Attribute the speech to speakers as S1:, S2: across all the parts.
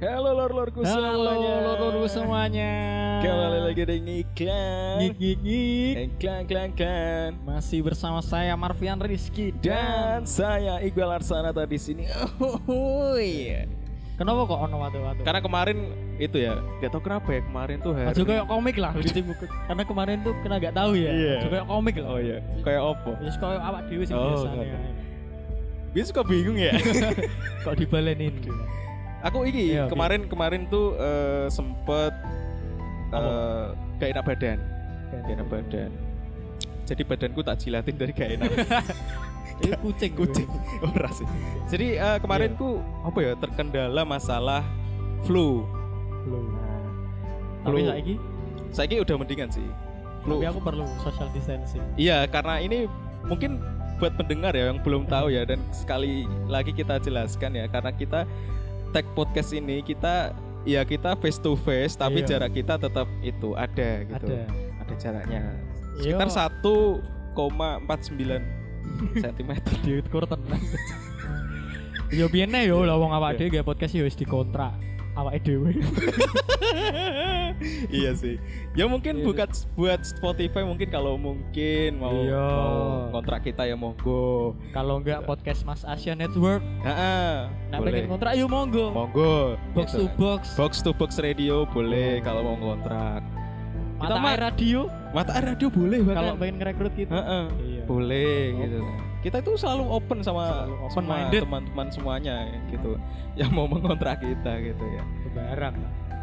S1: Halo lor-lorku
S2: Halo
S1: semuanya.
S2: loro semuanya.
S1: Kembali lagi Eh. dengan iklan.
S2: Ngik, ngik, ngik.
S1: Iklan, iklan, iklan.
S2: Masih bersama saya Marvian Rizky
S1: Dan saya Iqbal Arsanata di sini.
S2: kenapa kok ono watu-watu?
S1: Karena kemarin itu ya, gak tau kenapa ya kemarin tuh hari.
S2: Aja kayak komik lah di timku. Karena kemarin tuh kena gak tahu ya.
S1: Iya.
S2: Aja kayak komik lah.
S1: Oh iya, kayak opo.
S2: Wis koyo awak dhewe sing ya.
S1: Oh,
S2: biasanya.
S1: ngerti. Gue suka bingung ya.
S2: Kok dibalenin gitu.
S1: Aku ini
S2: Iya, oke.
S1: kemarin kemarin tuh eh, sempet
S2: Apa?
S1: eh, gak enak badan, gak enak badan. Jadi badanku tak jilatin dari gak enak.
S2: Itu kucing.
S1: Iya, kucing ora sih jadi eh, kemarin
S2: Iya.
S1: ku apa ya terkendala masalah flu
S2: Belum.
S1: Nah,
S2: Tapi
S1: Belum.
S2: saiki
S1: saya udah mendingan sih flu
S2: tapi aku perlu social distancing.
S1: iya karena ini mungkin buat pendengar ya yang belum tahu ya dan sekali lagi kita jelaskan ya karena kita tag podcast ini kita ya kita face to face tapi
S2: Iya.
S1: jarak kita tetap itu ada gitu
S2: Ada.
S1: ada jaraknya
S2: Iya.
S1: sekitar 1,49 cm
S2: Duit kurten. Yo biyen ae yo lah wong awak dhewe gawe podcast yo wis dikontrak awake dhewe.
S1: iya sih. Ya mungkin
S2: Iya.
S1: bukan buat Spotify mungkin kalau mungkin mau,
S2: Iya.
S1: mau kontrak kita ya monggo.
S2: Kalau enggak podcast Mas Asia Network,
S1: Heeh. Iya.
S2: nak
S1: boleh.
S2: pengen kontrak yuk monggo.
S1: Monggo.
S2: Box
S1: Gitu.
S2: to Oh. box,
S1: box to box radio boleh kalau mau kontrak.
S2: mata
S1: mah-
S2: air radio.
S1: Mata Air radio boleh
S2: Kalau
S1: bahkan.
S2: pengen ngerekrut kita,
S1: Heeh.
S2: Iya.
S1: Boleh gitu. Kita itu selalu open sama
S2: Selalu
S1: sama
S2: open-minded.
S1: teman-teman semuanya ya, gitu yang mau mengontrak kita gitu ya.
S2: barang.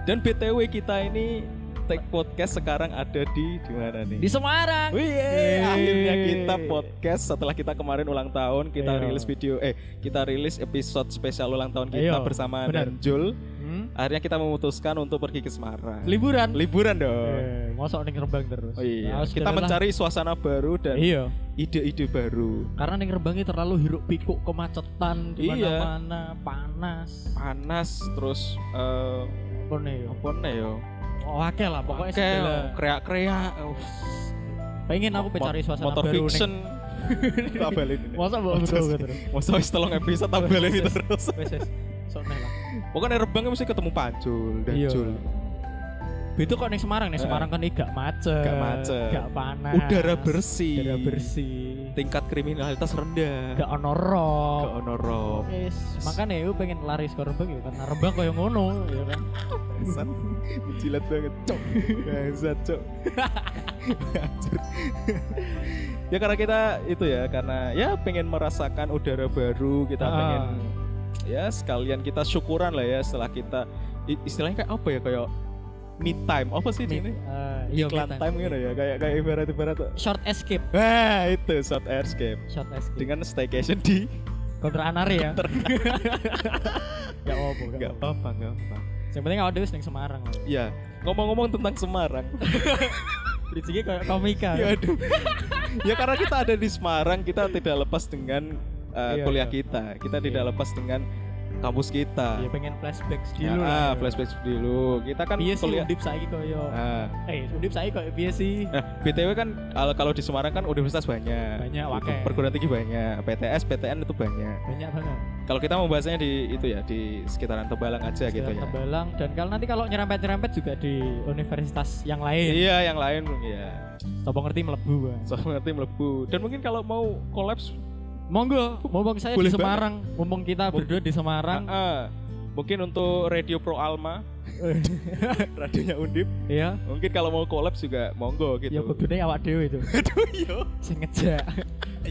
S1: Dan BTW kita ini Tag podcast sekarang ada di di mana nih?
S2: Di Semarang.
S1: Wih,
S2: Yeay.
S1: akhirnya kita podcast setelah kita kemarin ulang tahun kita
S2: Iya.
S1: rilis video eh kita rilis episode spesial ulang tahun kita
S2: Iya,
S1: bersama
S2: benar.
S1: dan Jul.
S2: Hmm?
S1: Akhirnya kita memutuskan untuk pergi ke Semarang.
S2: Liburan.
S1: Liburan dong.
S2: Eh, mosok ning Rembang terus.
S1: Oh iya.
S2: Nah,
S1: kita
S2: sudahlah.
S1: mencari suasana baru dan
S2: Iya,
S1: ide-ide baru.
S2: karena ning Rembangnya terlalu hiruk pikuk kemacetan di
S1: Iya.
S2: mana-mana, panas.
S1: Panas terus eh
S2: Pokoknya yo.
S1: apa nih yo?
S2: Oh, akeh lah pokoknya
S1: Oke,
S2: segala.
S1: kreak-kreak. Oh,
S2: Pengen aku mencari suasana
S1: motor
S2: baru
S1: fiction. tak balik ini.
S2: Masa mbok
S1: Motor
S2: buka-buka
S1: fiction.
S2: terus.
S1: Masa wis tolong episode tak balik ini
S2: Yes.
S1: terus.
S2: Wes wes. Sok neh lah.
S1: Pokoknya rebangnya mesti ketemu Pacul dan
S2: Iya.
S1: Jul.
S2: Itu kok ning Semarang nih,
S1: Heeh.
S2: Semarang kan gak macet.
S1: Eh. Gak macet.
S2: Gak panas.
S1: Ah. Udara bersih.
S2: Udara bersih.
S1: Tingkat kriminalitas rendah.
S2: Gak ono rob.
S1: Gak ono rob.
S2: Wes, makanya aku pengen lari ke Rembang ya karena Rembang koyo ngono ya kan.
S1: Bangsat. Menjilat banget, cok. Bangsat, cok. Hancur. ya karena kita itu ya, karena ya pengen merasakan udara baru, kita
S2: Ah.
S1: pengen ya sekalian kita syukuran lah ya setelah kita i- istilahnya kayak apa ya kayak me time apa sih ini
S2: Eh, iya,
S1: iklan
S2: kita-
S1: time gitu ya kayak kayak ibarat ibarat
S2: Short escape,
S1: wah itu short airscape
S2: short escape.
S1: dengan staycation di
S2: Kontra anar ya. Gak apa-apa, gak
S1: nggak
S2: apa.
S1: apa-apa nggak apa
S2: Yang penting awak dhewe wis ning Semarang.
S1: ya ngomong-ngomong tentang Semarang
S2: Bridging-nya kayak komika.
S1: ya aduh ya karena kita ada di Semarang kita tidak lepas dengan uh,
S2: Iya,
S1: kuliah
S2: iya.
S1: kita kita tidak lepas dengan kampus
S2: Ya
S1: kita
S2: pengen flashback
S1: ya, ah,
S2: dulu lah.
S1: flashback dulu kita kan
S2: Piye sih
S1: kuliah
S2: undip saiki koyo
S1: Ah.
S2: eh undip saiki koyo piye sih?
S1: nah btw kan al- kalau di Semarang kan universitas banyak
S2: Banyak,
S1: Gitu.
S2: wakil.
S1: perguruan tinggi banyak PTS PTN itu banyak
S2: Banyak banget.
S1: kalau kita membahasnya di itu ya di sekitaran Tembalang aja gitu
S2: Jalan
S1: ya
S2: Tembalang dan kalau nanti kalau nyerempet-nyerempet juga di universitas yang lain.
S1: iya yang lain ya
S2: Sopo ngerti melebu. Bang.
S1: so ngerti melebu dan mungkin kalau mau kolaps
S2: Monggo, mumpung saya
S1: Boleh
S2: di Semarang, mumpung kita
S1: Mumpung-
S2: berdua di Semarang.
S1: Ah, ah. mungkin untuk radio Pro Alma, radionya Undip,
S2: Iya.
S1: mungkin kalau mau collab juga monggo gitu.
S2: Ya kudune awak dhewe itu.
S1: Aduh, iya. yo.
S2: Sing ngejak.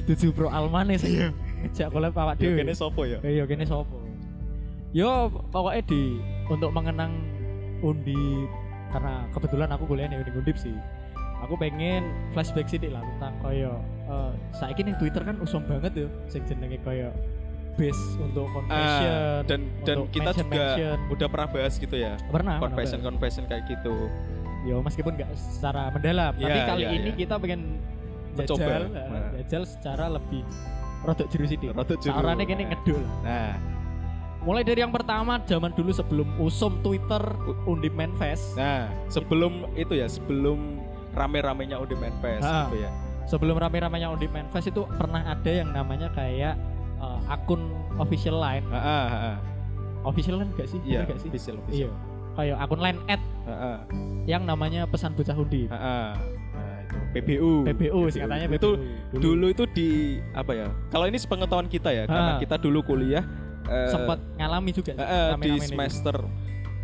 S2: Tujuh pro almane sing ngejak collab awak
S1: Yo
S2: dhewe.
S1: Iya. Ya, kene sopo yo?
S2: Eh, Iya kene sopo? Yo pokoknya di untuk mengenang Undip karena kebetulan aku kuliah di Undip sih. Aku pengen flashback sithik lah tentang koyo eh saiki ning Twitter kan usum banget yo sing jenenge koyo base untuk confession.
S1: Ah, dan dan
S2: untuk
S1: kita juga
S2: mention-mention.
S1: udah pernah bahas gitu ya.
S2: pernah
S1: Confession
S2: pernah bahas.
S1: confession kayak gitu.
S2: Yo meskipun nggak secara mendalam, tapi
S1: Iya,
S2: kali
S1: iya,
S2: ini
S1: iya.
S2: kita pengen
S1: Mencoba.
S2: jajal, eh,
S1: Nah.
S2: jajal secara lebih rodok jeru sithik.
S1: Rodok jeru.
S2: Saurane kene ngedul.
S1: Nah,
S2: Mulai dari yang pertama zaman dulu sebelum usum Twitter Undip Manfest,
S1: nah sebelum itu ya, sebelum rame-ramenya Undip Manfest
S2: Ah.
S1: gitu ya.
S2: sebelum rame-ramenya Undip Manfest itu pernah ada yang namanya kayak eh, akun official line
S1: Ah, ah, ah, ah.
S2: official kan gak sih?
S1: Ya. Iya,
S2: Bener gak sih?
S1: official official.
S2: Iya. Kayak akun line at
S1: Heeh.
S2: yang namanya pesan bocah undi.
S1: Heeh. Nah, Ya, itu PBU.
S2: PBU sih katanya
S1: Itu
S2: PBU.
S1: dulu itu di apa ya? Kalau ini sepengetahuan kita ya, karena
S2: Ha.
S1: kita dulu kuliah eh,
S2: Ah. sempat ngalami juga
S1: eh,
S2: sih,
S1: eh, di
S2: rame-rame ini.
S1: semester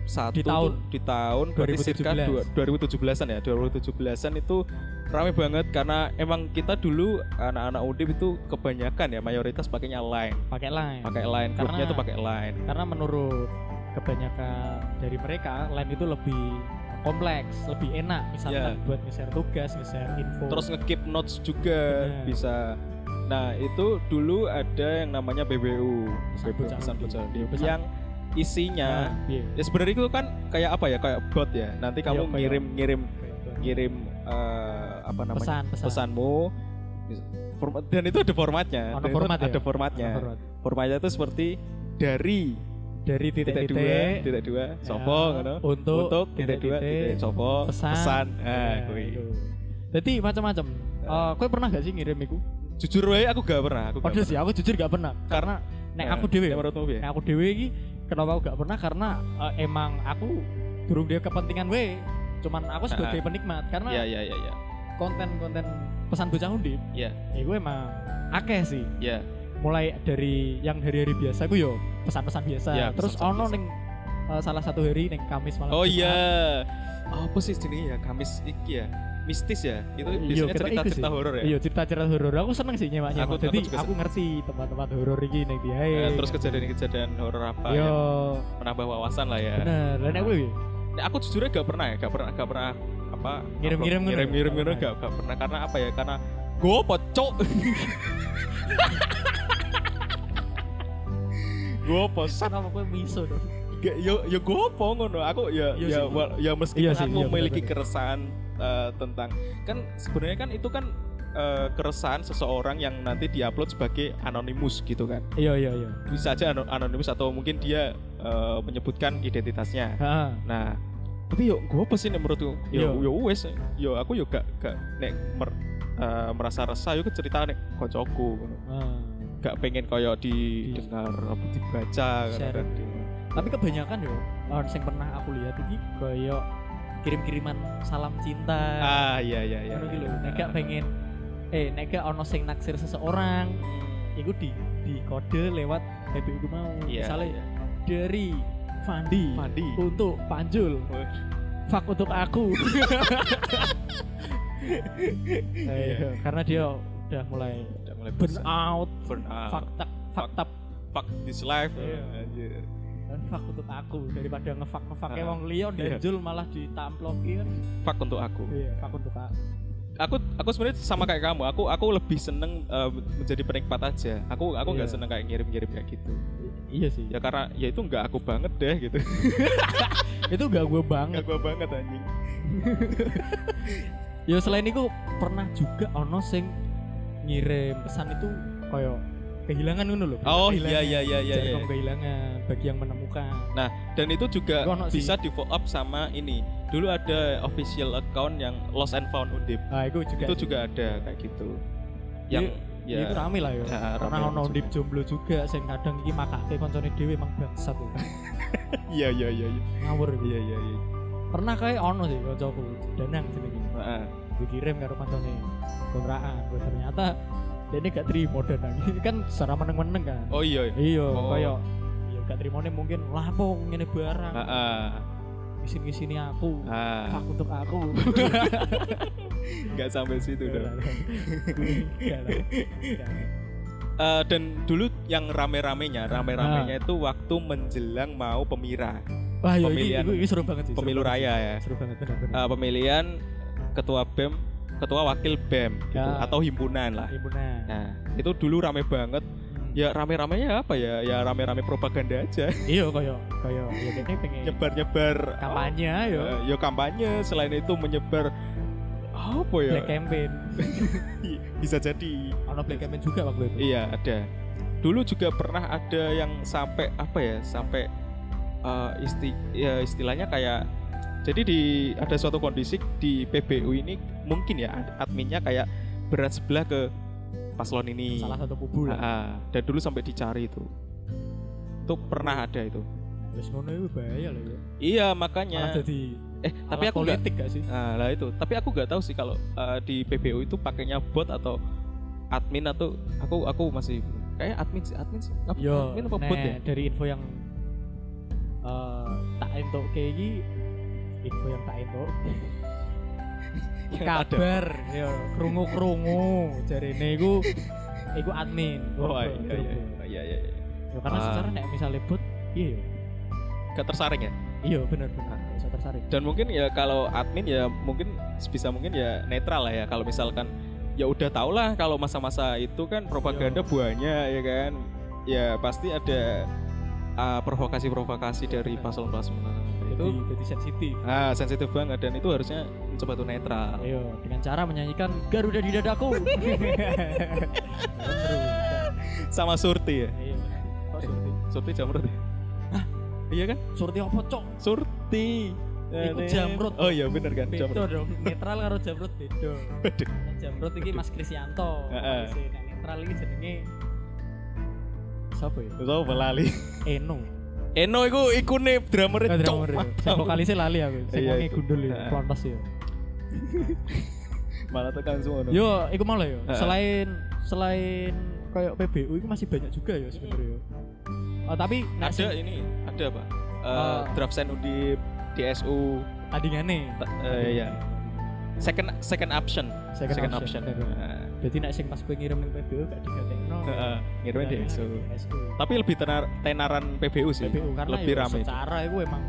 S1: satu
S2: Di tahun.
S1: tuh- di tahun berarti circa
S2: 2017.
S1: dua- 2017-an ya 2017-an itu rame banget karena emang kita dulu anak-anak Undip itu kebanyakan ya mayoritas pakainya line
S2: pakai line.
S1: pakai line grupnya
S2: Ya. Karena-
S1: tuh pakai line
S2: Karena menurut kebanyakan dari mereka line itu lebih kompleks, lebih enak misalnya buat nge-share tugas, nge-share info.
S1: Iya. terus ngekip notes juga
S2: Bener.
S1: bisa nah itu dulu ada yang namanya BBU
S2: Pesan
S1: BBU,
S2: Bocah
S1: pesan
S2: Undi.
S1: bocah undi,
S2: Pesan-
S1: yang isinya
S2: Nah, iya.
S1: ya sebenarnya itu kan kayak apa ya kayak bot ya nanti
S2: Iya,
S1: kamu
S2: kayak-
S1: ngirim ngirim ngirim eh, apa namanya
S2: pesan, pesan.
S1: pesanmu Forma- dan itu ada formatnya
S2: Ada
S1: Dan itu
S2: format ya?
S1: ada formatnya
S2: Forward.
S1: formatnya itu seperti dari
S2: Dari
S1: titik
S2: titik-titik
S1: dua titik dua
S2: ya,
S1: sopo ngono.
S2: untuk,
S1: untuk titik dua titik sopo
S2: pesan.
S1: pesan nah
S2: Ya,
S1: kui.
S2: itu. Jadi macam-macam.
S1: Ah.
S2: Eh, kowe pernah gak sih ngirim iku?
S1: jujur wae aku gak pernah aku gak
S2: Padahal sih aku jujur gak pernah. Karena nek
S1: Eh,
S2: aku dhewe
S1: nek menurutmu piye?
S2: Nah, aku dewe iki kenapa aku gak pernah karena eh, emang aku durung dia kepentingan we cuman aku
S1: Ah.
S2: sebagai penikmat
S1: ya
S2: karena
S1: ya ya ya
S2: konten-konten pesan bocah undi
S1: Iya.
S2: itu emang akeh sih
S1: ya
S2: mulai dari yang hari-hari biasa ku yo pesan-pesan biasa
S1: Iya,
S2: terus
S1: pesan-pesan
S2: ono
S1: biasa.
S2: ning eh, salah satu hari ning Kamis malam
S1: oh
S2: Jumat.
S1: iya apa sih jenis ya Kamis iki ya mistis ya itu
S2: Iya,
S1: biasanya
S2: ketok
S1: cerita
S2: iku
S1: cerita
S2: sih.
S1: horor ya
S2: iya cerita-cerita horor aku seneng sih nyewa nyewa
S1: Aku- aku
S2: jadi
S1: juga
S2: aku, ngerti teman-teman horor iki ning dia Iya.
S1: Eh, terus Iya. kejadian-kejadian horor apa
S2: yo
S1: yang menambah wawasan lah ya
S2: bener dan aku iki,
S1: Nah, aku jujurnya gak pernah ya, gak pernah, gak pernah apa
S2: Ngirim-ngirim
S1: upload-
S2: gitu?
S1: ngirim-ngirim gitu, gak, gak pernah karena apa ya? Karena gue pocok. gue posan
S2: kenapa kowe miso dong
S1: gak yo yo gue opo ya ngono aku ya
S2: Iya
S1: ya
S2: sih.
S1: wa- ya meskipun
S2: Iya sih,
S1: aku
S2: iya,
S1: memiliki
S2: benar-benar.
S1: keresahan eh, tentang kan sebenarnya kan itu kan eh, keresahan seseorang yang nanti diupload sebagai anonimus gitu kan
S2: iya iya iya
S1: bisa aja ano- anonimus atau mungkin dia eh, menyebutkan identitasnya
S2: Heeh.
S1: Nah, tapi yo gua apa sih nek menurutku?
S2: Iya.
S1: Yo yo wes, yo aku yo gak gak nek mer- eh, merasa resah yo cerita nek kocokku ngono.
S2: Heeh.
S1: Gak pengen koyo didengar apa dibaca
S2: Iya. Share.
S1: kan.
S2: tapi kebanyakan yo orang yang pernah aku lihat ini koyo kirim-kiriman salam cinta
S1: Ah iya iya iya.
S2: ngono ki lho nek gak pengen eh nek gak ono sing naksir seseorang iku di di kode lewat BBU ku mau
S1: Iya,
S2: misalnya
S1: iya.
S2: dari Fandi
S1: Fandi.
S2: untuk Panjul
S1: Wih.
S2: fuck untuk aku Eh,
S1: Iya.
S2: karena dia udah mulai
S1: Udah mulai
S2: burn
S1: bosan.
S2: out
S1: burn out.
S2: fakta fakta
S1: Fuck this life.
S2: Iya.
S1: Anjir.
S2: fuck untuk aku daripada ngefak ngefak
S1: Ah.
S2: wong Leon
S1: Iya.
S2: dan Jul malah ditamplokin
S1: Fuck untuk aku.
S2: Iya, aku untuk A.
S1: Aku aku sebenarnya sama kayak kamu. Aku aku lebih seneng eh, menjadi penikmat aja. Aku aku nggak
S2: Iya.
S1: seneng kayak ngirim-ngirim kayak gitu.
S2: Iya sih.
S1: Ya karena ya itu nggak aku banget deh gitu.
S2: Itu gak gue
S1: Nggak
S2: banget.
S1: gua banget anjing.
S2: Ya selain itu pernah juga ono sing ngirim pesan itu koyo kehilangan ngono loh.
S1: Oh iya iya iya iya. iya.
S2: kehilangan bagi yang menemukan.
S1: Dan itu juga
S2: Itu ono sih.
S1: bisa di follow up sama ini. Dulu ada official account yang Lost and Found Undip.
S2: Nah, itu juga.
S1: Itu juga ada kayak gitu. Yang
S2: ya. itu
S1: ya
S2: rame lah ya.
S1: Ya,
S2: Pernah
S1: rame
S2: ono
S1: juga.
S2: ndip jomblo juga sing kadang iki makake koncone dhewe emang bangsat ya.
S1: iya iya iya iya.
S2: Ngawur
S1: iya
S2: iki.
S1: iya iya.
S2: Pernah kae ono sih kancaku, Danang jenenge.
S1: Heeh.
S2: dikirim karo koncone kontrakan Wah, ternyata ini gak terima danang ini kan secara meneng-meneng kan
S1: Oh iya. iya.
S2: iya
S1: Oh.
S2: kaya iya gak terima mungkin lapo ngene barang
S1: Heeh.
S2: isin sini aku
S1: Ah,
S2: aku untuk aku
S1: nggak sampai situ dong.
S2: Gak lah. Gak.
S1: Eh, dan dulu yang rame-ramenya, rame-ramenya
S2: Ah.
S1: itu waktu menjelang mau pemira,
S2: wah yo ini,
S1: Pemilihan-
S2: ini, ini seru banget sih seru
S1: pemilu
S2: banget.
S1: raya ya.
S2: seru banget bener-bener
S1: Eh, pemilihan ketua BEM, ketua wakil BEM gitu
S2: Ya.
S1: atau himpunan lah.
S2: Himpunan.
S1: Nah, itu dulu rame banget
S2: Hmm.
S1: ya rame-ramenya apa ya ya rame-rame propaganda aja
S2: iya kaya kaya ya kayaknya pengen
S1: nyebar-nyebar
S2: kampanye
S1: oh,
S2: yo
S1: eh, ya kampanye selain itu menyebar apa ya
S2: black campaign
S1: bisa jadi
S2: ono black campaign juga waktu itu
S1: iya ada dulu juga pernah ada yang sampai apa ya sampai eh, isti ya, istilahnya kayak jadi di ada suatu kondisi di PBU ini mungkin ya ad- adminnya kayak berat sebelah ke paslon ini
S2: salah satu kubu ya. lah Iya.
S1: Ah, dan dulu sampai dicari itu itu pernah ada itu
S2: Wis ngono iku bahaya lho ya.
S1: Iya
S2: Malah
S1: makanya.
S2: jadi
S1: Eh tapi aku
S2: alat
S1: nggak.
S2: politik gak sih?
S1: Nah, lah itu. Tapi aku nggak tahu sih kalau eh, di PBU itu pakainya bot atau admin atau aku aku masih kayak admin sih admin sih. Apa,
S2: Yo,
S1: admin apa
S2: nek
S1: bot ya?
S2: Iya. Nah, dari info yang eh tak entuk kayak iki info yang tak entuk
S1: Yang ada.
S2: kabar yo krungu-krungu jarene iku iku admin.
S1: Oh
S2: Bot,
S1: iya iya
S2: grup
S1: iya.
S2: bot.
S1: iya iya. iya.
S2: Yo, karena
S1: Ah.
S2: secara nek misalnya bot iya yo.
S1: Nggak tersaring ya.
S2: Iya benar benar. Gak usah tertarik.
S1: Dan mungkin ya kalau admin ya mungkin sebisa mungkin ya netral lah ya kalau misalkan ya udah tau lah kalau masa-masa itu kan propaganda
S2: Yo.
S1: banyak ya kan. Ya pasti ada eh, provokasi-provokasi dari paslon-paslon
S2: Iya.
S1: Nah,
S2: Jadi,
S1: itu.
S2: jadi sensitif.
S1: Ah, sensitif banget dan itu harusnya mencoba tuh netral.
S2: Ayo dengan cara menyanyikan Garuda di dadaku.
S1: sama Surti ya
S2: Ayo. Kok Surti?
S1: Surti Jamrut ya? iya kan
S2: Surti apa cok?
S1: Surti
S2: Iku Jamrut.
S1: oh iya bener kan
S2: Beda
S1: Jamrut
S2: dong. Netral karo Jamrut beda.
S1: Waduh.
S2: Nek Jamrut iki Mas Krisyanto.
S1: Heeh.
S2: Si nek netral iki jenenge Siapa ya?
S1: Tahu melali.
S2: Eno.
S1: Eno iku iku ne drummer
S2: Eh,
S1: cok.
S2: drummer ya. Sing vokalisnya lali aku. Sing
S1: Iya,
S2: wonge
S1: itu.
S2: gundul ya,
S1: Heeh.
S2: plontos ya.
S1: Malah tekan semua.
S2: Yo, iku malah yo.
S1: Heeh.
S2: Selain selain kayak PBU itu masih banyak juga ya sebenarnya. yo. Oh, tapi nek sing-
S1: Iya. ada ini, ada apa? Eh
S2: Ah.
S1: draft sen undip DSU
S2: tandingane
S1: ta- eh, iya. second second option.
S2: Second option, bener.
S1: Heeh.
S2: berarti nek sing pas gue ngirim ning PBU gak Nah, digatekno
S1: Ah, Heeh, ngirimin
S2: Tandingane
S1: DSU.
S2: DSU.
S1: Tapi lebih tenar, tenaran PBU sih.
S2: PBU karena
S1: lebih
S2: yo
S1: ramai.
S2: secara itu emang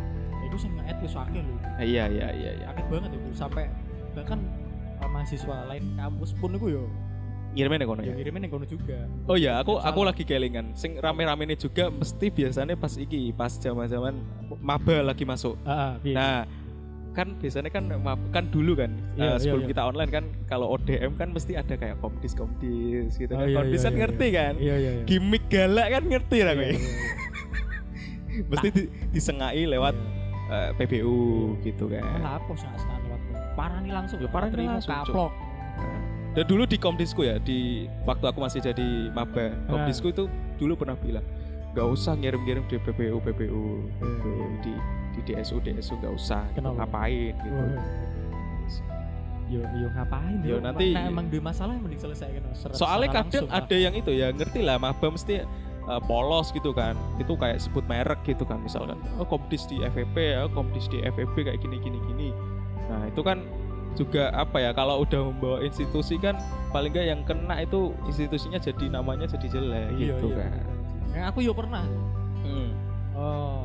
S2: itu sing nge-add wis akeh lho
S1: Iya iya iya iya.
S2: akeh banget itu sampai bahkan eh, mahasiswa lain kampus pun itu
S1: Oh,
S2: yo
S1: Ngirimin ya kono
S2: yo
S1: ya.
S2: ngirimin yang kono juga
S1: Oh iya, aku aku
S2: Salah.
S1: lagi kelingan. Sing rame-rame ini juga mesti biasanya pas iki, pas zaman-zaman maba lagi masuk.
S2: heeh
S1: Nah, kan biasanya kan mab- kan dulu kan eh,
S2: Iya, iya,
S1: sebelum
S2: iya.
S1: kita online kan kalau ODM kan mesti ada kayak komdis komdis gitu
S2: Oh,
S1: kan.
S2: iya,
S1: komdis
S2: iya,
S1: kan
S2: iya,
S1: ngerti kan.
S2: iya iya iya
S1: Gimik galak kan ngerti lah
S2: Iya,
S1: kowe.
S2: iya, iya.
S1: Mesti di- disengai lewat eh, PBU gitu
S2: Iya.
S1: kan.
S2: malah apa sih sekarang lewat parani langsung
S1: Yo, parani
S2: Terima
S1: Ya, langsung, Cuk.
S2: kaplok Iya.
S1: Dan dulu di komdisku ya di waktu aku masih jadi maba,
S2: Nah.
S1: komdisku itu dulu pernah bilang nggak usah ngirim-ngirim di PBU PBU gitu,
S2: Iya.
S1: di di DSU DSU nggak usah gitu,
S2: Kenapa?
S1: ngapain gitu.
S2: Wah. Oh, iya. yo yo ngapain
S1: Yo,
S2: Emang-
S1: nanti-
S2: nek emang duwe masalah mending selesaikan secara-
S1: Soalnya
S2: secara
S1: kadang
S2: langsung lah.
S1: ada yang itu ya ngerti lah maba mesti eh, polos gitu kan. Itu kayak sebut merek gitu kan misalkan. Oh komdis di FVP ya, komdis di FVP kayak gini gini gini. Nah itu kan juga apa ya kalau udah membawa institusi kan paling nggak yang kena itu institusinya jadi namanya jadi jelek
S2: Iya,
S1: gitu
S2: iya,
S1: kan.
S2: bener. Nah, aku yo pernah.
S1: Hmm.
S2: Oh.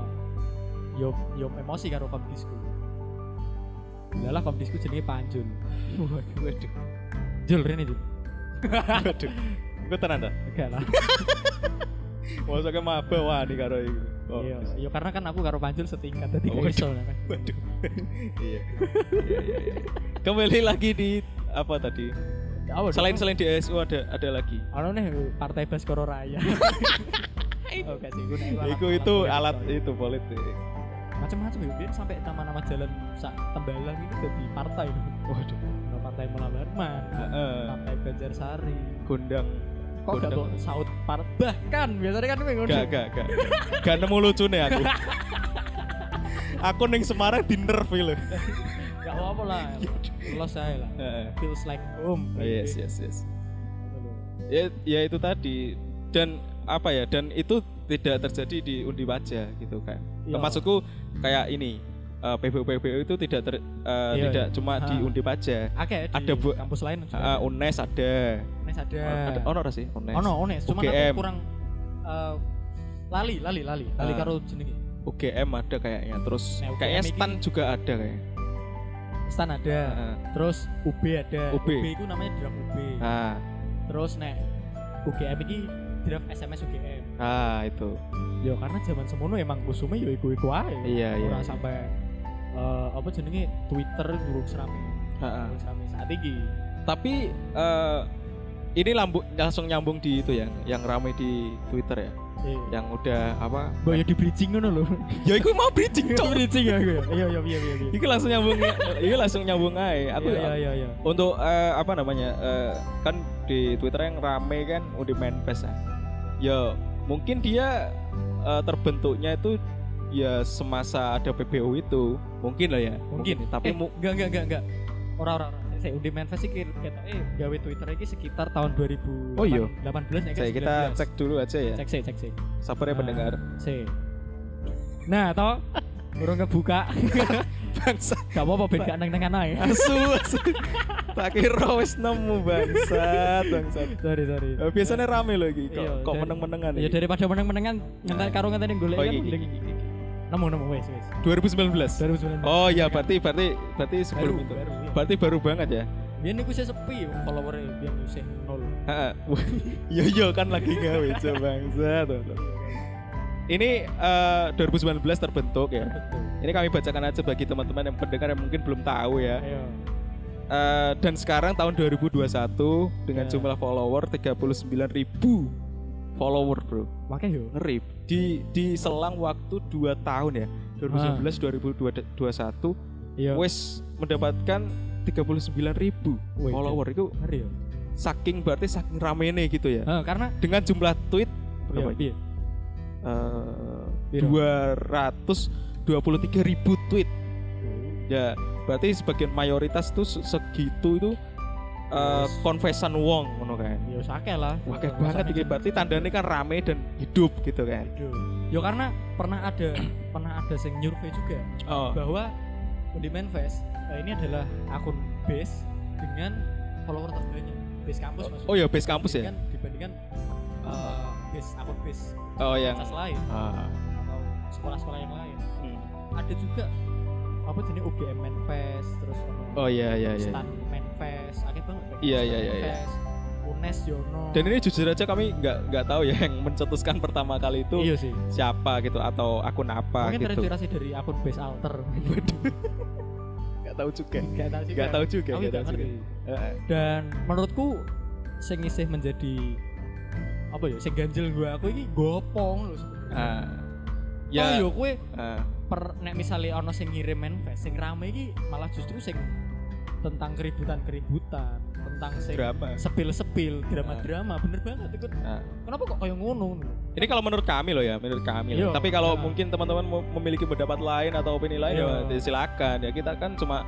S2: Yo yo emosi karo komdisku. Lah lah komdisku jenenge Panjul.
S1: Waduh, waduh,
S2: Jul rene Jul.
S1: waduh. Iku tenan ta?
S2: Enggak lah.
S1: Masuknya maba wah nih karo iku. Oh,
S2: Yo, yo karena kan aku karo Panjul setingkat tadi
S1: Oh,
S2: oh, iso kan.
S1: Waduh. iya. Iya, iya, iya. Kembali lagi di apa tadi?
S2: Apa
S1: Selain
S2: dong?
S1: selain di ASU ada ada lagi.
S2: Ono Anu nih Partai Baskoro Raya. oh, gak sih, gue nek
S1: Iku itu alat
S2: politik,
S1: itu e. politik.
S2: coy. macam-macam ya, biar sampai nama-nama jalan sak tembalang itu jadi partai.
S1: Waduh.
S2: Ono partai Mula Barman,
S1: Heeh.
S2: partai Banjarsari,
S1: Gondang.
S2: kok gak kok saut part bahkan biasanya kan pengen
S1: Gak gak gak. Gak nemu lucu nih aku. aku neng Semarang di nerf lho.
S2: gak apa-apa lah los aja lah
S1: Heeh.
S2: feels like home
S1: Oh,
S2: Gitu
S1: Yes yes yes. ya, ya itu tadi dan apa ya dan itu tidak terjadi di undi wajah gitu kan
S2: Iya.
S1: maksudku kayak ini eh, PBU PBU itu tidak ter, eh,
S2: Iya,
S1: tidak
S2: iya.
S1: cuma di
S2: Ha. Iya.
S1: undi wajah
S2: oke
S1: Ada bu-
S2: kampus lain juga
S1: Eh, UNES ada
S2: Unes ada
S1: ada ono ora sih UNES
S2: Iya. ono Unes cuman
S1: UGM.
S2: aku kurang eh, lali lali lali lali
S1: Ah.
S2: karo jenenge
S1: UGM ada kayaknya terus
S2: Nah, UGM
S1: kayaknya
S2: ini-
S1: STAN juga ada kayaknya
S2: stan ada
S1: Heeh.
S2: terus UB ada
S1: UB.
S2: itu namanya draft UB
S1: ah
S2: terus nek UGM ini draft SMS UGM
S1: ah itu
S2: ya karena zaman semono emang kusumnya ya iku-iku aja
S1: Iya, iya,
S2: Ora
S1: iya.
S2: sampai eh, apa jenenge Twitter buruk serami
S1: Ha-ha.
S2: buruk serami saat ini
S1: tapi eh, ini lambu, langsung nyambung di itu ya yang rame di Twitter ya
S2: Iya.
S1: yang udah apa
S2: Mbak ya di bridging ngono lho.
S1: ya itu mau bridging
S2: Cok
S1: cok
S2: bridging ya gue. Iya iya iya iya. iya.
S1: Iki langsung nyambung, iki langsung nyambung aja. Aku ya.
S2: iya iya iya.
S1: untuk eh, apa namanya eh, kan di Twitter yang rame kan udah main pes ya. Ya, mungkin dia eh, terbentuknya itu ya semasa ada PBU itu mungkin lah ya
S2: Mungkin.
S1: tapi
S2: eh,
S1: mu-
S2: enggak enggak enggak enggak. Ora ora ora. Saya undi manifest iki ketok eh gawe Twitter iki sekitar tahun 2000.
S1: Oh, iya.
S2: 18 ya
S1: saya kita cek dulu aja ya
S2: Cek sih, cek sih.
S1: sabar ya
S2: Nah.
S1: pendengar
S2: Sih. Nah, toh burung kebuka.
S1: bangsa
S2: Gak apa-apa ben gak neng-nengan ae.
S1: asu asu tak kira wis nemu bangsat bangsat
S2: Sorry, sorry.
S1: Eh, biasanya rame loh iki
S2: Iya,
S1: kok, kok
S2: dari-
S1: meneng-menengan
S2: Ya
S1: iki.
S2: daripada meneng-menengan ngentek karo ngenteni golek
S1: Oh, iki,
S2: kan
S1: iki, Oh,
S2: mending nemu nemu wes wes.
S1: 2019
S2: 2019.
S1: oh ya berarti berarti berarti
S2: baru
S1: sebelum itu
S2: baru. iya.
S1: berarti baru banget ya
S2: Biyen niku sih sepi follower biyen niku sih nol.
S1: Ha-ha. Wah, iya iya kan lagi gawe coba bangsat bangsat. ini eh, 2019 terbentuk ya
S2: Betul.
S1: ini kami bacakan aja bagi teman-teman yang pendengar yang mungkin belum tahu ya
S2: Ayo.
S1: Eh, dan sekarang tahun 2021 dengan
S2: Ya.
S1: jumlah follower 39.000 follower bro
S2: Makanya yo.
S1: ngeri di di selang waktu 2 tahun ya 2019 2021
S2: Iya.
S1: wes mendapatkan 39.000
S2: Wih, iya.
S1: follower itu
S2: ngeri yo.
S1: saking berarti saking ramene gitu ya
S2: Heeh, karena
S1: dengan jumlah tweet
S2: Iya,
S1: berapa
S2: piye?
S1: Eh,
S2: Piro?
S1: 223.000 tweet ya berarti sebagian mayoritas tuh se- segitu itu eh,
S2: Yes.
S1: confession wong ngono kan
S2: Ya wis akeh lah.
S1: wah kayak banget iki berarti tandanya kan rame dan hidup gitu kan
S2: Aduh. Yo karena pernah ada pernah ada sing nyurvei juga
S1: oh
S2: bahwa di Manfest eh, ini adalah akun base dengan follower terbanyak base kampus maksudnya.
S1: oh ya base kampus ya
S2: Dibandingkan- dibandingkan eh, base akun base
S1: oh yang
S2: universitas lain
S1: ah,
S2: atau sekolah-sekolah yang lain.
S1: hmm.
S2: Ada juga apa jenis UGM Manfest terus ono
S1: oh ya ya ya
S2: Stan Manfest, akeh banget. kayak
S1: Iya,
S2: Stan
S1: iya, iya, iya.
S2: Manfest, UNES Yono.
S1: dan ini jujur aja kami nggak nggak tahu ya yang mencetuskan pertama kali itu
S2: iya sih.
S1: siapa gitu atau akun apa
S2: Mungkin
S1: gitu
S2: terinspirasi dari akun base alter.
S1: nggak tahu juga
S2: Gak tahu
S1: nggak tahu juga
S2: Iya. Aku
S1: nggak tahu juga
S2: nggak ngerti.
S1: Heeh.
S2: Dan menurutku sing isih menjadi apa ya sing ganjel gua aku ini gopong lho sebenarnya.
S1: Ah.
S2: Ya.
S1: ya
S2: yo kowe
S1: ah,
S2: per nek misale ana sing ngirim manifest sing rame iki malah justru sing tentang keributan-keributan, tentang sing
S1: drama
S2: sepil-sepil, drama-drama, bener banget ikut.
S1: Ah.
S2: Kenapa kok kayak ngono?
S1: Ini kalau menurut kami loh ya, menurut kami.
S2: Iya.
S1: loh. Tapi kalau
S2: Nah.
S1: mungkin teman-teman mau- memiliki pendapat lain atau opini lain
S2: Iya.
S1: ya silakan. Ya kita kan cuma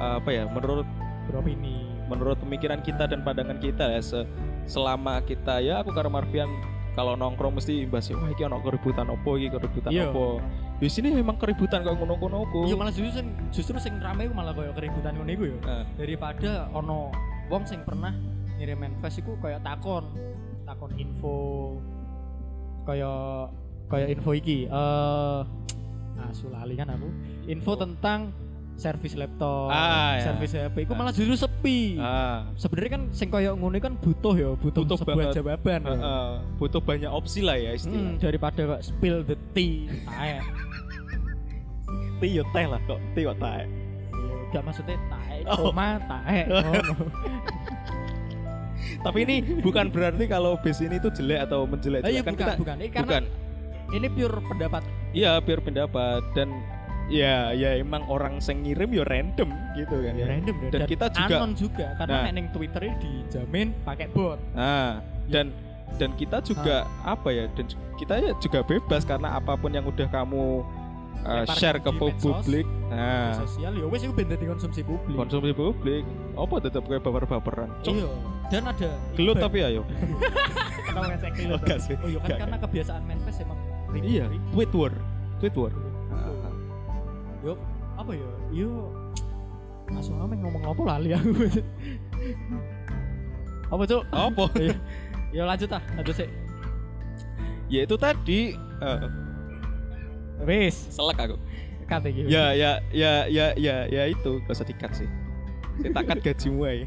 S1: eh, apa ya, menurut
S2: Beropini.
S1: menurut pemikiran kita dan pandangan kita ya se- selama kita ya aku karo Marvian kalau nongkrong mesti imbas wah iki ono keributan opo iki keributan
S2: Iya.
S1: opo. Di sini memang keributan kok ngono-ngono ku.
S2: Iya malah justru sing justru sing rame iku malah kayak keributan ngono iku ya.
S1: Nah,
S2: daripada ono wong sing pernah ngirim manifest iku kayak takon takon info kayak kayak info iki eh asu lali kan aku info tentang servis laptop
S1: Ah, ya.
S2: servis HP
S1: Ah.
S2: iku malah justru sepi
S1: ah,
S2: sebenarnya kan sing kayak ngono kan butuh ya butuh,
S1: Butuh
S2: sebuah
S1: banget.
S2: jawaban ya.
S1: heeh. butuh banyak opsi lah ya
S2: Hmm,
S1: istilahnya.
S2: daripada kok spill the tea tae
S1: Ti yo teh lah kok, ti yo teh.
S2: Ya, gak maksudnya tae
S1: Oh.
S2: cuma tae ngono.
S1: Tapi ini bukan berarti kalau bis ini tuh jelek atau
S2: Eh, iya,
S1: menjelek-jelekan
S2: bukan,
S1: kita.
S2: bukan. Eh, karena
S1: bukan.
S2: ini pure pendapat
S1: Iya, biar pendapat dan ya ya emang orang sing ngirim ya random gitu kan.
S2: ya random
S1: Dan kita juga-
S2: anon juga karena
S1: Nah.
S2: nek ning Twitter dijamin pakai bot.
S1: Nah, dan dan kita juga
S2: Ah.
S1: apa ya? Dan ju- kita ya juga bebas karena apapun yang udah kamu uh,
S2: Lempar
S1: share ke
S2: di medsos,
S1: publik.
S2: Media
S1: Nah,
S2: sosial ya wis iku ben dadi konsumsi publik.
S1: konsumsi publik. Apa tetap kayak baper-baperan? Cuk,
S2: Iya. Dan ada
S1: gelut tapi ayo.
S2: kenapa ngecek gelut?
S1: Oh, enggak sih.
S2: Oh iya kan
S1: Enggak,
S2: karena kebiasaan manifest emang ribet-
S1: Iya,
S2: ribet.
S1: tweet war. Tweet war. Ah, ah.
S2: Yo apa ya? Yo langsung ame ngomong apa lali aku. apa cuk?
S1: Ah. Apa?
S2: Yo lanjut ah, lanjut sih.
S1: ya itu tadi eh,
S2: Wis,
S1: selek aku.
S2: kate iki.
S1: Ya ya ya ya ya ya itu gak usah dikat sih. Ditakat gajimu aja.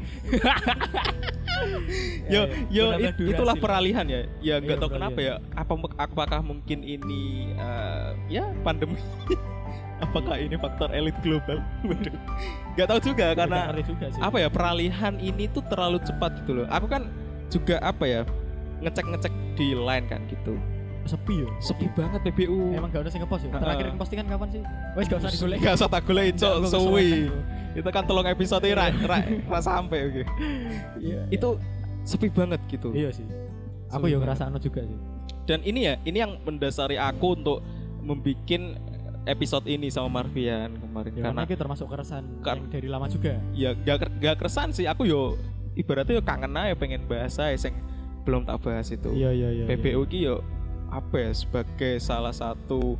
S2: Ya,
S1: yo yo
S2: ya.
S1: it-
S2: Menambah durasi
S1: itulah
S2: lah.
S1: peralihan ya ya nggak
S2: Iya,
S1: tahu kenapa ya
S2: peralihan.
S1: apa apakah mungkin ini eh, ya pandemi apakah ini faktor elit global Waduh. nggak tahu juga karena
S2: Ngerti juga Iya, sih.
S1: apa ya peralihan ini tuh terlalu cepat gitu loh aku kan juga apa ya ngecek ngecek di line kan gitu
S2: sepi yo.
S1: sepi banget PBU
S2: Iya. Emang gak ada sing ngepost ya?
S1: Heeh.
S2: Terakhir postingan kapan sih? Wes gak usah digolek.
S1: Gak usah tak golek
S2: Gak,
S1: cok
S2: gak usah
S1: suwi
S2: digolek.
S1: itu kan tolong episode ini ra, ra, ra sampai oke.
S2: Iya.
S1: itu sepi banget gitu
S2: Iya sih. Aku
S1: Sepi
S2: yang
S1: banget.
S2: ngerasa anu juga sih.
S1: dan ini ya ini yang mendasari aku untuk membuat episode ini sama Marvian kemarin
S2: Ya,
S1: karena kan
S2: karena itu termasuk keresan
S1: Kar-
S2: yang dari lama juga.
S1: ya gak, ker- gak keresan sih aku yo ibaratnya yo kangen aja pengen bahas aja sing belum tak bahas itu
S2: Iya iya iya.
S1: PBU ki yo apa ya sebagai salah satu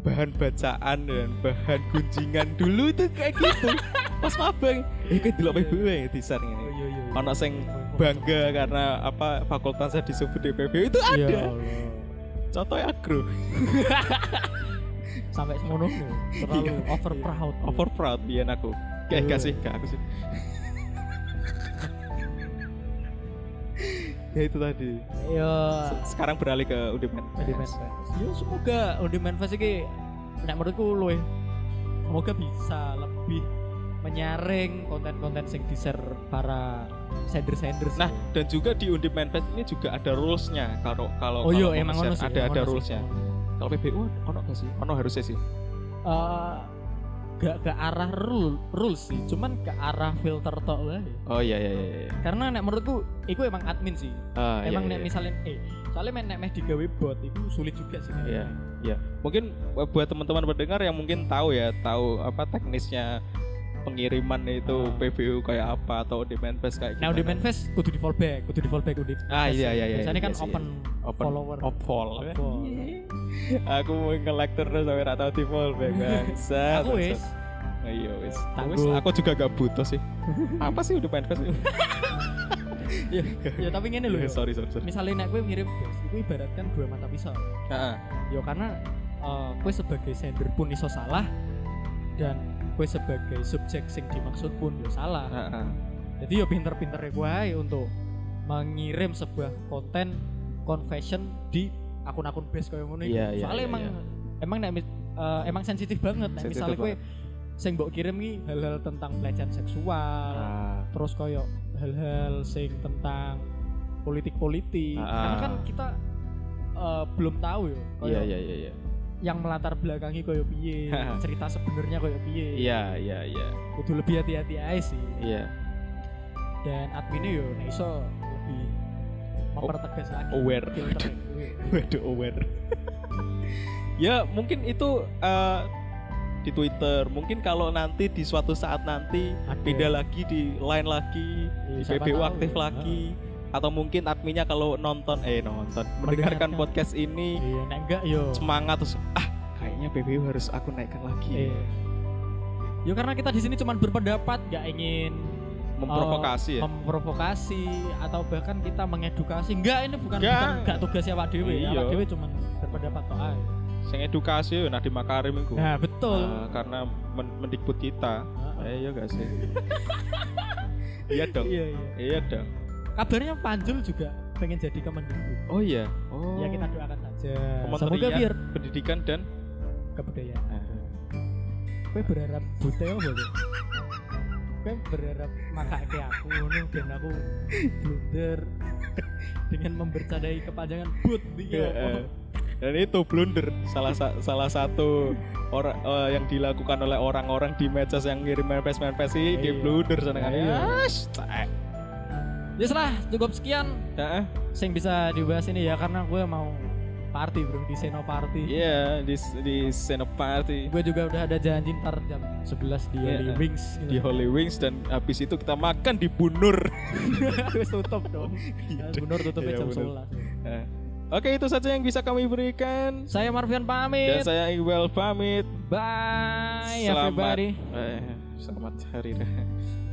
S1: bahan bacaan dan bahan gunjingan dulu tuh kayak gitu pas mabang itu dulu PBU ya di sana
S2: Iya
S1: ini
S2: iya iya.
S1: ono sing Oh, bangga
S2: gitu.
S1: karena apa fakultasnya disebut di PBU itu
S2: Ya
S1: ada
S2: Allah.
S1: contohnya agro
S2: Sampai semono terlalu
S1: Iya.
S2: over proud.
S1: over proud biyen aku
S2: Iya.
S1: kayak gak sih gak aku sih ya itu tadi
S2: Ya
S1: Se- sekarang beralih ke Udiman
S2: on-demand fest. Ya semoga on-demand fest iki nek menurutku luwih semoga bisa lebih menyaring konten-konten sing di-share para sender-sender.
S1: Nah, dan juga di Undip Manfest ini juga ada rules-nya. Kalau kalau
S2: oh
S1: kalau
S2: iya
S1: mau
S2: emang
S1: nge-share,
S2: ono sih,
S1: ada ada
S2: emang ono sih,
S1: rules-nya.
S2: emang ono.
S1: Kalau PBU ono gak sih? Ono harusnya sih.
S2: Eh, gak ke arah rule rules sih, cuman ke arah filter tok wae.
S1: Oh iya iya iya. iya.
S2: Karena nek menurutku iku emang admin sih.
S1: Ah, iya,
S2: emang
S1: iya,
S2: nek
S1: iya.
S2: misalnya eh soalnya men nek meh digawe bot itu sulit juga sih.
S1: Iya, iya. Mungkin buat teman-teman pendengar yang mungkin tahu ya, tahu apa teknisnya pengiriman itu
S2: Ah.
S1: PBU kayak apa atau Undip Manfest kayak gimana.
S2: Nah, udah main face kudu di fallback, kudu di fallback udah.
S1: Ah, iya, iya, iya,
S2: Biasanya
S1: iya
S2: kan
S1: sih,
S2: open
S1: Open
S2: follower. Iya.
S1: Opol.
S2: Opol.
S1: Aku mau nge-lag terus sampai ra tau timol bangsa.
S2: Aku wis
S1: Iya wis.
S2: Tanggung.
S1: Wis, aku juga gak butuh sih. apa sih udah Manfest? Iya.
S2: ya tapi ngene lho.
S1: Iya,
S2: yo.
S1: sorry sorry sorry.
S2: Misalnya nek gue ngirim face, itu ibaratkan dua mata pisau.
S1: Heeh.
S2: Yo karena eh, gue sebagai sender pun iso salah dan gue sebagai subjek sing dimaksud pun yo salah.
S1: Heeh.
S2: Jadi ya pinter-pinter gue ae untuk mengirim sebuah konten confession di akun-akun base kayak ngono iku.
S1: Iya, iya,
S2: Soalnya
S1: iya,
S2: emang
S1: iya.
S2: emang nek mis- eh, emang sensitif banget nek
S1: Sensitif
S2: misalnya gue sing mbok kirim iki hal-hal tentang pelecehan seksual,
S1: Ah,
S2: terus koyo hal-hal sing tentang politik-politik.
S1: Ah.
S2: Karena kan kita eh, belum tahu ya
S1: Iya
S2: koyo
S1: iya iya iya.
S2: yang melatar belakangi koyo piye, cerita sebenarnya koyo piye.
S1: Iya iya iya.
S2: Kudu lebih hati-hati aja sih
S1: Iya.
S2: dan adminnya yo nek iso lebih mempertegas lagi
S1: Aware.
S2: filter
S1: Waduh aware. ya mungkin itu eh, di Twitter. Mungkin kalau nanti di suatu saat nanti
S2: Ada.
S1: beda lagi di lain lagi, di
S2: Siapa
S1: PBU
S2: Iya. tahu,
S1: aktif
S2: ya.
S1: lagi. Atau mungkin adminnya kalau nonton eh nonton mendengarkan
S2: Mendengarkan.
S1: podcast ini
S2: iya nek enggak yo
S1: semangat terus ah kayaknya PBU harus aku naikkan lagi
S2: iya. yo karena kita di sini cuma berpendapat nggak ingin
S1: memprovokasi ya
S2: Oh, memprovokasi atau bahkan kita mengedukasi enggak ini bukan
S1: Nggak.
S2: bukan enggak tugasnya Pak Dewi
S1: Iya.
S2: Pak Dewi cuma berpendapat toh ae.
S1: sing edukasi nah di Makarim itu
S2: nah betul
S1: Nah, karena men- mendikbud kita
S2: Heeh.
S1: Eh, iya gak sih? iya dong.
S2: iya iya
S1: Iya dong.
S2: kabarnya Panjul juga pengen jadi kemendikbud
S1: Oh iya. Oh.
S2: ya kita doakan saja
S1: Kementerian
S2: semoga biar
S1: pendidikan dan
S2: kebudayaan Kue berharap bute apa tuh? Kue berharap makake aku ngono ben aku blunder dengan membercadai kepanjangan but iki
S1: Iya,
S2: apa?
S1: eh. Dan itu blunder salah sa- salah satu orang eh, yang dilakukan oleh orang-orang di medsos yang ngirim manifest manifest sih
S2: Iya.
S1: di blunder kan. seneng
S2: Iya. Ya salah, cukup sekian sing bisa dibahas ini ya karena gue mau party bro di Seno Party.
S1: Iya di di Senopati
S2: Gue juga udah ada janji ntar jam 11 di
S1: Iya,
S2: Holy
S1: eh.
S2: Wings gitu.
S1: di Holy Wings dan habis itu kita makan di Bunur.
S2: Wis tutup dong. Ya, Bener tutupnya
S1: Iya,
S2: jam
S1: bener.
S2: 11.
S1: Eh, Oke itu saja yang bisa kami berikan
S2: Saya Marvian
S1: dan
S2: pamit.
S1: saya Iqbal pamit.
S2: Bye
S1: Selamat-
S2: everybody.
S1: Eh, selamat hari raya.